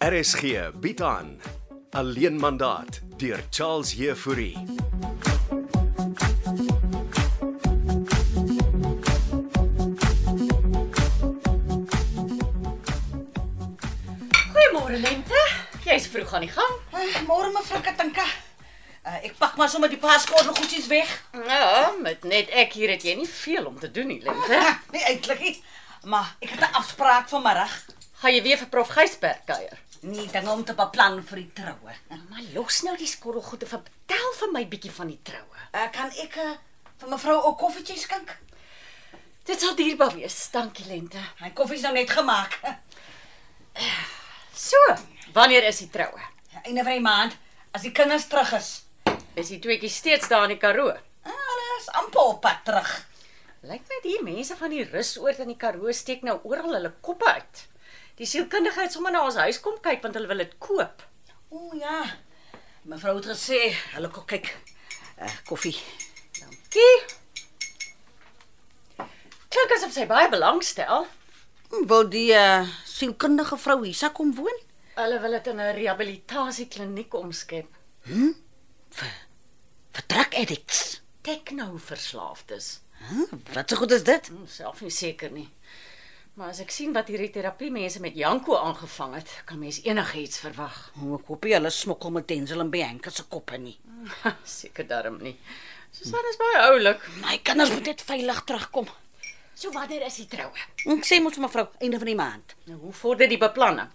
RSG bied aan Alleen mandaat deur Charles Heffouri. Goeiemôre Lente. Jy's vroeg aan die gang. Eh, Môre mevrou Katanka. Eh, ek pak maar sommer die paaskort en goedjies weg. Ja, met net ek hier het jy nie veel om te doen nie, Lente. Ha, nee eintlik nie. Maar ek het 'n afspraak vanmiddag. Gaan jy weer vir Prof Gysberg kuier? Nee, dinge om te beplan vir die troue. Maar los nou die skorrelgoede, vertel vir my bietjie van die troue. Eh, kan ek eh, vir mevrou 'n koffietjie skink? Dit sal dierbaar wees. Dankie, Lente. My koffie is nou net gemaak. So, wanneer is die troue? Einde van die maand as die kinders terug is. Is die tweetjie steeds daar in die Karoo? Ah, Hulle is amper op pad terug. Lyk my die mense van die rusoord in die Karoo steek nou oral hulle koppe uit. Die sielkundige het sommer na ons huis kom kyk want hulle wil dit koop. O ja. Mevrou het gesê, hulle kom kyk. Eh, koffie. Kie. Klink asof sy baie belangstel. Wil die uh, sielkundige vrou hier sa kom woon? Hulle wil dit in 'n rehabilitasiekliniek omskep. Vertrek addicts. Tegnoverslaafdes. Huh? Wat se goed is dit? Hm, Self nie seker nie. Maar as ek sien wat hierdie terapie mense met Janko aangevang het, kan mens enigiets verwag. O, Ek hoop nie hulle smokkel met Denzel en Bianca se koppe nie. seker darm nie. Susan is baie oulik. My kinders moet net veilig terugkom. So wanneer is die troue? Ek sê mos vir mevrou einde van die maand. Nou hoe vorder die beplanning?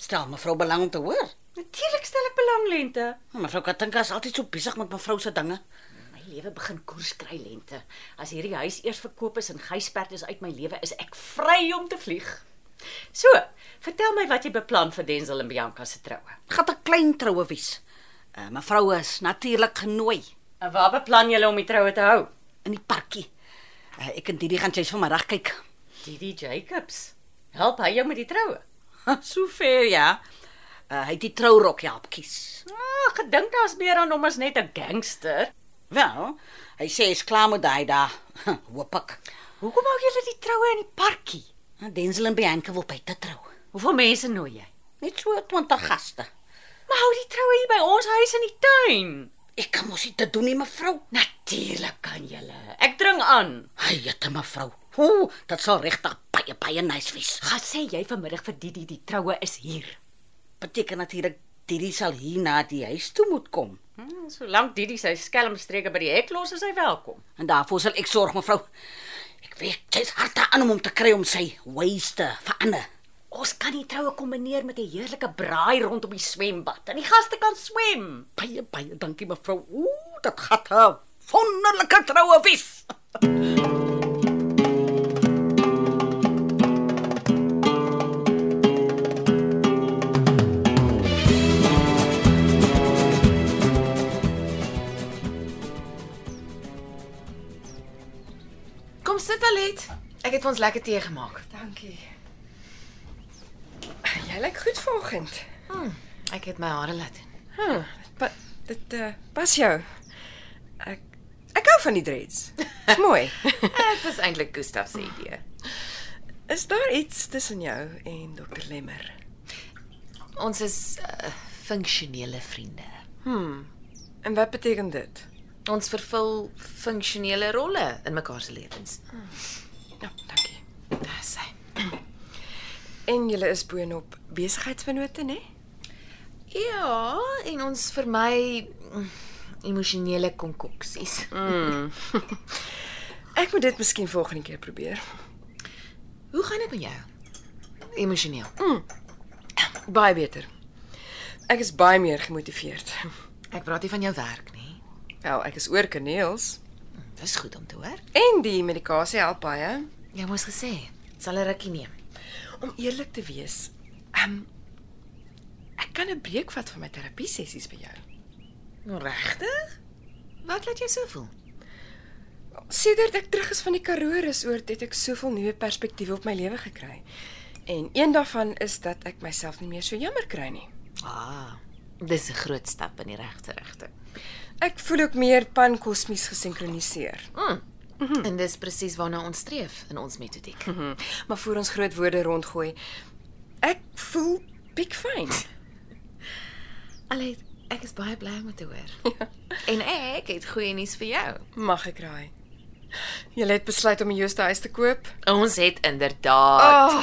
Stel mevrou belang om te hoor. Natuurlik stel ek belang lente. Mevrou Katinka is altyd so besig met mevrou se dinge. My lewe begin koers kry lente. As hierdie huis eers verkoop is en Gysbert is uit my lewe, is ek vry om te vlieg. So, vertel my wat jy beplan vir Denzel en Bianca se troue. Gat 'n klein troue wies. Uh, mevrou is natuurlik genooi En waar beplan julle om die troue te hou? in die parkie. Uh, ek en Didi gaan jy's vanmiddag kyk. Didi Jacobs. Help hy jou met die troue? Ha, so ver ja. Uh, hy het die trourok help kies. Ah, gedink daar's meer aan hom as net 'n gangster. Wel, hy sê hy's klaar met daai daai. Hoop ek. Hoekom hou julle die troue in die parkie? Denzel en Bianca wil buite trou. Hoeveel mense nooi jy? Net so 20 gaste. Maar hou die troue hier by ons huis in die tuin. Ek kan mos nie dit doen nie, mevrou. Natuurlik kan julle. Ek dring aan. Hy jette mevrou. Ooh, dit sal regtig baie baie nice wees. Gaan sê jy vanmiddag vir Didi die troue is hier. Beteken natuurlik Didi sal hier na die huis toe moet kom. Hm, solank Didi sy skelmstreke by die hek los, is hy welkom. En daarvoor sal ek sorg, mevrou. Ek weet jy's harte aan om hom te kry om sy ways te verander. Ons kan die troue kombineer met 'n heerlike braai rondom die swembad en die gaste kan swem. Baie baie dankie mevrou. Ooh, dit gaan 'n wonderlike troue wees. Kom sit Alet. Ek het vir ons lekker tee gemaak. Dankie. Jy lyk goed vanoggend. Ek het my hare laat doen. Hm, dit pa, dit uh, pas jou. Ek ek hou van die dreads. Dis mooi. Dit was eintlik Gustaf se idee. Is daar iets tussen jou en Dr Lemmer? Ons is uh, funksionele vriende. En wat beteken dit? Ons vervul funksionele rolle in mekaar se lewens. Ah, Ja, dankie. Daar sê. En julle is boonop besigheidsvennote, né? Ja, en ons vermy mm, emosionele konkoksies. Ek moet dit miskien volgende keer probeer. Hoe gaan dit met jou? Emosioneel. Baie beter. Ek is baie meer gemotiveerd. Ek praat nie van jou werk nie. Wel, ek is oor kaneels Dis goed om te hoor. en die medikasie help baie. Jy moes gesê, dit sal 'n rukkie neem. Om eerlik te wees, ehm um, ek kan 'n breek vat van my terapie sessies by jou. Regtig? Wat laat jou so voel? Sedert ek terug is van die Karoo resoort, het ek soveel nuwe perspektiewe op my lewe gekry. En een daarvan is dat ek myself nie meer so jammer kry nie. Ah, dis 'n groot stap in die regte rigting. Ek voel ook meer pankosmies gesinkroniseer. Mm. En dis presies waarna ons Mhm. streef in ons metodiek. Maar voor ons groot woorde rondgooi, ek voel Piek fyn. Allet, ek is baie bly om dit te hoor. en ek het goeie nuus vir jou. Mag ek raai? Jy het besluit om 'n Jooste huis te koop. Ons het inderdaad. Oh.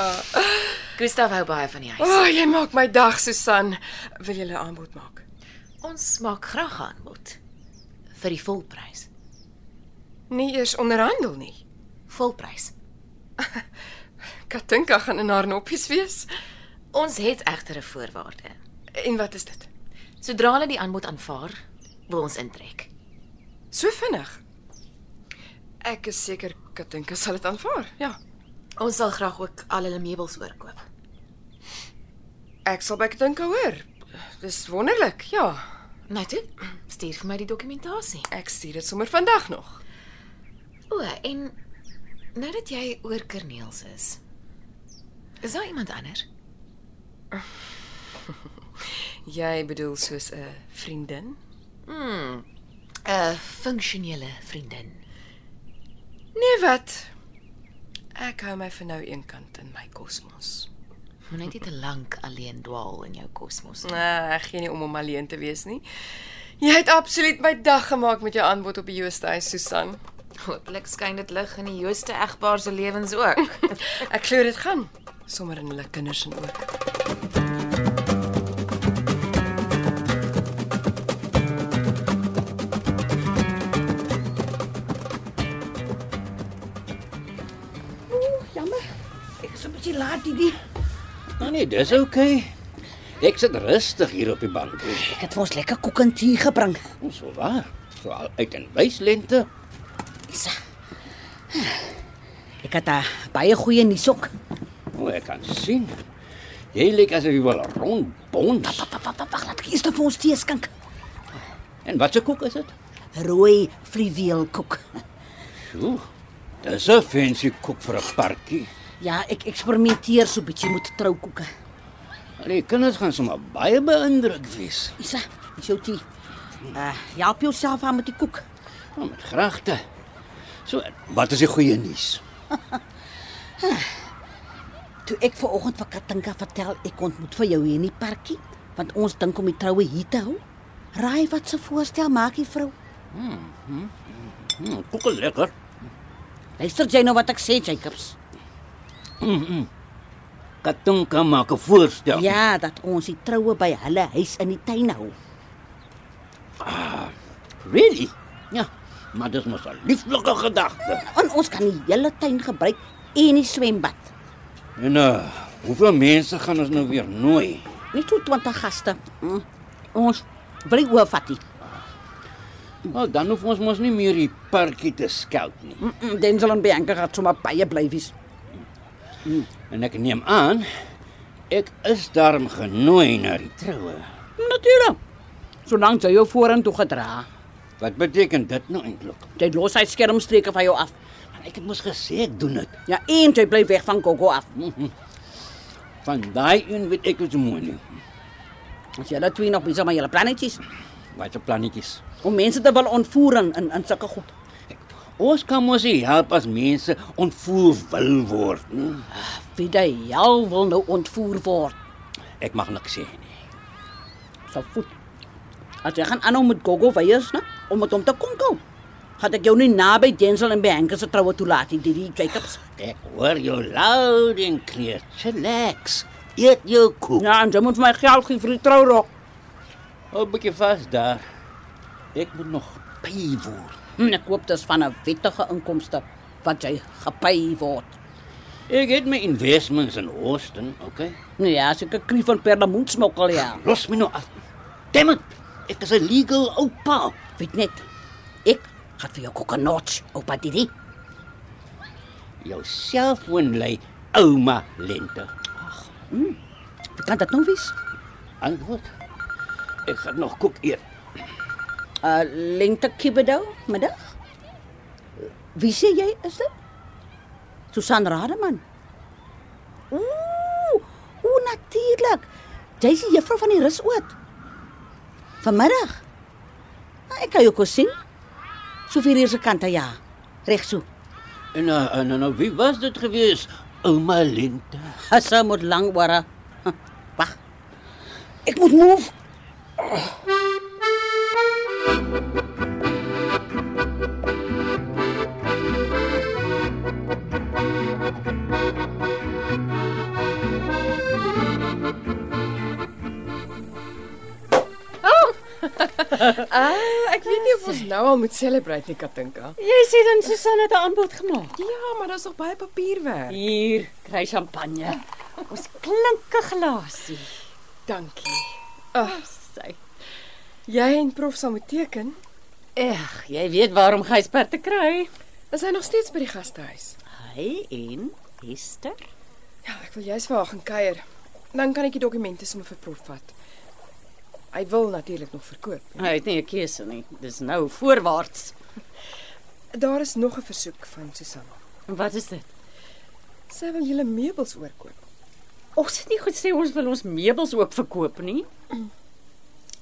Gustav hou baie van die O, huis. oh, jy maak my dag, Susan. Wil jy 'n aanbod maak? Ons maak graag aanbod vir die volprys. Nie eers onderhandel nie. Volprys. Katinka gaan in haar noppies wees. Ons het egter 'n voorwaarde. En wat is dit? Sodra hulle die aanbod aanvaar, wil ons intrek. So vinnig. Ek is seker Katinka sal dit aanvaar. Ja. Ons sal graag ook al hulle meubels oorkoop. Ek sal by Katinka hoor. Dis wonderlik. Ja. Nou toe, stuur vir my die dokumentasie. Ek stuur dit sommer vandag nog. O, en nou dat jy oor Kerneels is. Is daar iemand anders? Jy bedoel soos 'n vriendin? Hmm, 'n Funksionele vriendin. Nee, wat? Ek hou my vir nou eenkant in my kosmos. Moet net nie te lank alleen dwaal in jou kosmos nie. Nee, ek gee nie om om alleen te wees nie. Jy het absoluut my dag gemaak met jou aanbod op die Joosthuis, Susan. Hooplik skyn dit lig in die Jooste egpaar se lewens ook. Ek glo dit gaan sommer in hulle kinders en ook. Jammer. Ek is 'n bietjie laat hierdie. Maar nee, dis oukei. Okay. Ek sit rustig hier op die bank. Ek het vir ons lekker koek en tee gebring. Ons so waar. So al uit en wys lente. Isa. Ek het daar baie goeie nuus ook. O, ek kan sien. Jy lyk asof jy wil rond bons. Wag, wag, wag, laat ek eers dan vir ons tee skink. En wat se koek is dit? Rooi fluweelkoek. Sjoe. Dis 'n fancy koek vir 'n party. Ja, ek eksperimenteer so 'n bietjie met troukoeke. Allee, kinders gaan sommer baie beïndruk wees. Isa, dis jou tee. Uh, jy help jouself aan met die koek. Maar Nou, met graagte. So, wat is die goeie nuus? Toe ek ver oggend vir Katinka vertel ek ontmoet vir jou hier in die parkie, want ons dink om die troue hier te hou. Raai wat se voorstel maak die vrou? Hm, koek is lekker. Luister jy nou wat ek sê, Jacobs? Katinka maak 'n voorstel. Ja, dat ons die troue by hulle huis in die tuin hou. Really? Ja. Maar dis mos 'n lieflike gedagte. En ons kan die hele tuin gebruik en die swembad. En uh, hoeveel mense gaan ons nou weer nooi? Net so 20 gaste. Mm. Ons wil nie oorvat nie. Wel, dan hoef ons mos nie meer die parkie te skout nie. Mm -mm, Denzel en Bianca gaan sommer baie bly wees. En ek neem aan ek is daarom genooi na die troue. Natuurlik. Solank jy jou vorentoe gedra. Wat beteken dit nou eintlik? Jy los hy skermstreke van jou af. Ek het mos gesê ek doen dit. Ja, en jy bly weg van Gogo af. Mm, Van daai een weet ek hoe mooi nie. As jy hulle twee nog besig met julle plannetjies Wat 'n plannetjies. om mense te wil ontvoer en in in sulke goed. Ek, ons kan mos nie help as mense ontvoer wil word nie. Wie daai jou wil nou ontvoer word. Ek mag niks sê nie. Sal voet. As jy gaan aanhou met Gogo weiers, né, om met hom te konkel. Gaan ek jou nie naby Denzel en Bianca se troue toelaat nie, die Jacobs. Ek hoor jou luid en clear. Relax. Eet jou koek. Ja, en jy moet vir my geld gee vir die trourok. Hou 'n bietjie vas daar. Ek moet nog by word. Hm, ek koop dit van 'n wettige inkomste wat jy gepay word. Ek het my investments in Austin, okay? Nou ja, as ek 'n knie van perlemoen smokkel ja. Los my nou af. Damn it. Ek is 'n legal oupa. Weet net. Ek gaan vir jou kokonotch, oupa Didi. Jou selfoon lê ouma lente. Wie kan dit nou wees? Antwoord. Ek gaan nog koek eet. Uh lengte kibedo middag. Wie sê jy is dit? Susan Rademan. Ooh, ooh natuurlik. Jy's die juffrou van die rusoort. Vanmiddag. Ah, ek kan jou kos sien. So vir hierdie kant ja. Regso. eh, En nou uh, nou nou wie was dit gewees? ouma lente. Hassa moet lank wara. Huh, Wag. Ek moet move. Ah, ek weet nie of ons nou al moet celebrate nie, Katinka. Jy sê dan Susan het 'n aanbod gemaak. Ja, maar daar's nog baie papierwerk. Hier, kry champagne. Ons klinke glasie. Dankie. Sy. Jy en prof sal moet teken. Ag, jy weet waarom Gysbert te kry. Is hy nog steeds by die gastehuis? Hy en Hester. Ja, ek wil jous vir haar gaan kuier. Dan kan ek die dokumente sommer vir prof vat. Hy wil natuurlik nog verkoop. Hy het nie 'n keuse nie. Dis nou voorwaarts. Daar is nog 'n versoek van Susan. En wat is dit? Sy wil julle meubels oorkoop. Ons het nie gesê ons wil ons meubels ook verkoop nie.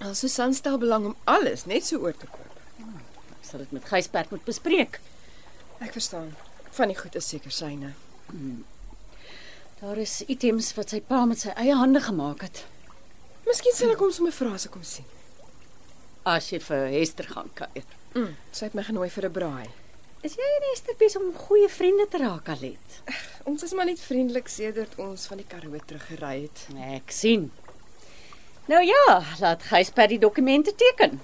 Al Susan stel belang om alles net so oor te koop. Ek sal dit met Gysbert moet bespreek. Ek verstaan. Van die goed is seker syne. Daar is items wat sy pa met sy eie hande gemaak het. Miskien sal ek hom sommer vra as ek hom sien. As jy vir Hester gaan kuier. Mm. Sy het my genooi vir 'n braai. Is jy en Hester besig om goeie vriende te raak, Alet? Ons is maar net vriendelik sedert ons van die Karoo teruggery het. Ek sien. Nou ja, laat Gysbert die dokumente teken.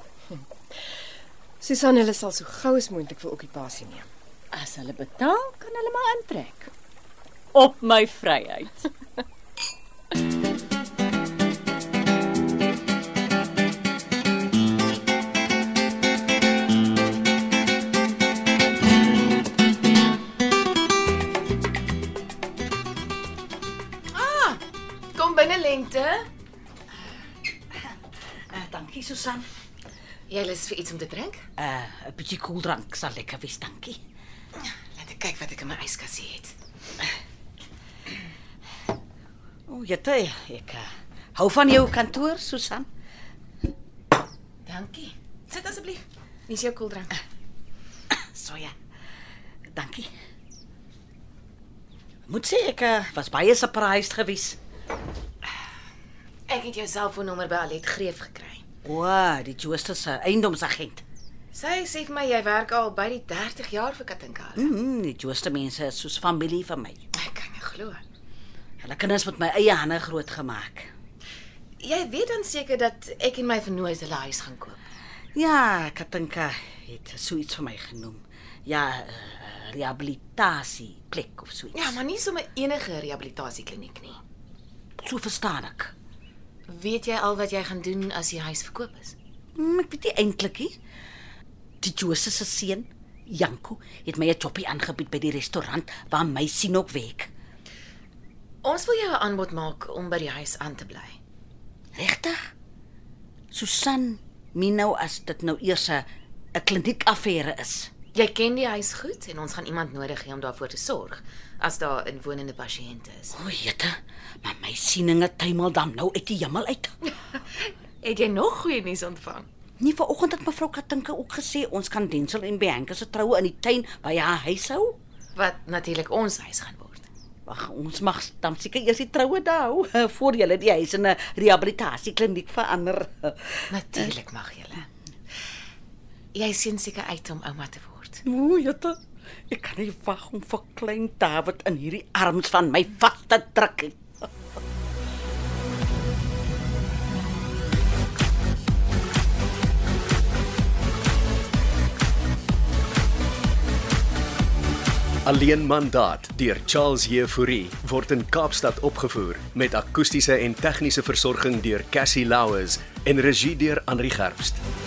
Susan, hulle sal so gou as moontlik vir okkupasie neem. As hulle betaal, kan hulle maar intrek. Op my vryheid. Kom binne lente. Uh, dankie Susan. Jy lus vir iets om te drink? 'n uh, bietjie koeldrank sal lekker wees, dankie. Laat ek kyk wat ek in my yskassie het. O, oh, jette, ek uh, hou van jou kantoor, Susan. Dankie. Sit asseblief. Dis jou koeldrank. So ja. Dankie. Moet sê ek uh, was baie surprised gewees. Ek het jou selfoonnommer by Alet Greef gekry. O, oh, die Jooste se eiendomsagent. Sy sê vir my jy werk al by die 30 jaar vir Katinka. Mm, -hmm, die Jooste mense is soos familie vir my. Ek kan nie glo. Hulle kinders met my eie hande grootgemaak. Jy weet dan seker dat ek en my vernoot 'n huis gaan koop. Ja, Katinka het so iets vir my genoem. Ja, uh, rehabilitasie plek of so iets. Ja, maar nie sommer enige rehabilitasiekliniek nie. so verstaan ek. Weet jy al wat jy gaan doen as die huis verkoop is? Hmm, ek weet nie eintlik nie. Die Jooste se seun, Janko, het my 'n jobbie aangebied by die restaurant waar my sien op werk. Ons wil jou 'n aanbod maak om by die huis aan te bly. Regtig? Susan, Minou as dit nou eers 'n 'n kliniek affære is. Jy ken die huis goed en ons gaan iemand nodig hê om daarvoor te sorg as daar inwonende pasiënte is. O, jette, maar my sieninge tuimel dan nou uit die hemel uit. Het jy nog goeie nuus ontvang? Nie vanoggend het mevrou Katinka ook gesê ons kan Denzel en Bianca se troue in die tuin by haar huis hou? Wat natuurlik ons huis gaan word. Wag, ons mag dan seker eers die troue daar hou voor jy die huis in 'n rehabilitasiekliniek verander. Natuurlik mag jy. Jy sien seker uit om ouma te word. O, jette. Ek kan nie wag om vir klein David in hierdie arms van my vas te druk nie. Alleen mandaat deur Charles Jefouri word in Kaapstad opgevoer met akoestiese en tegniese versorging deur Cassie Louws en regie deur Henri Gerst.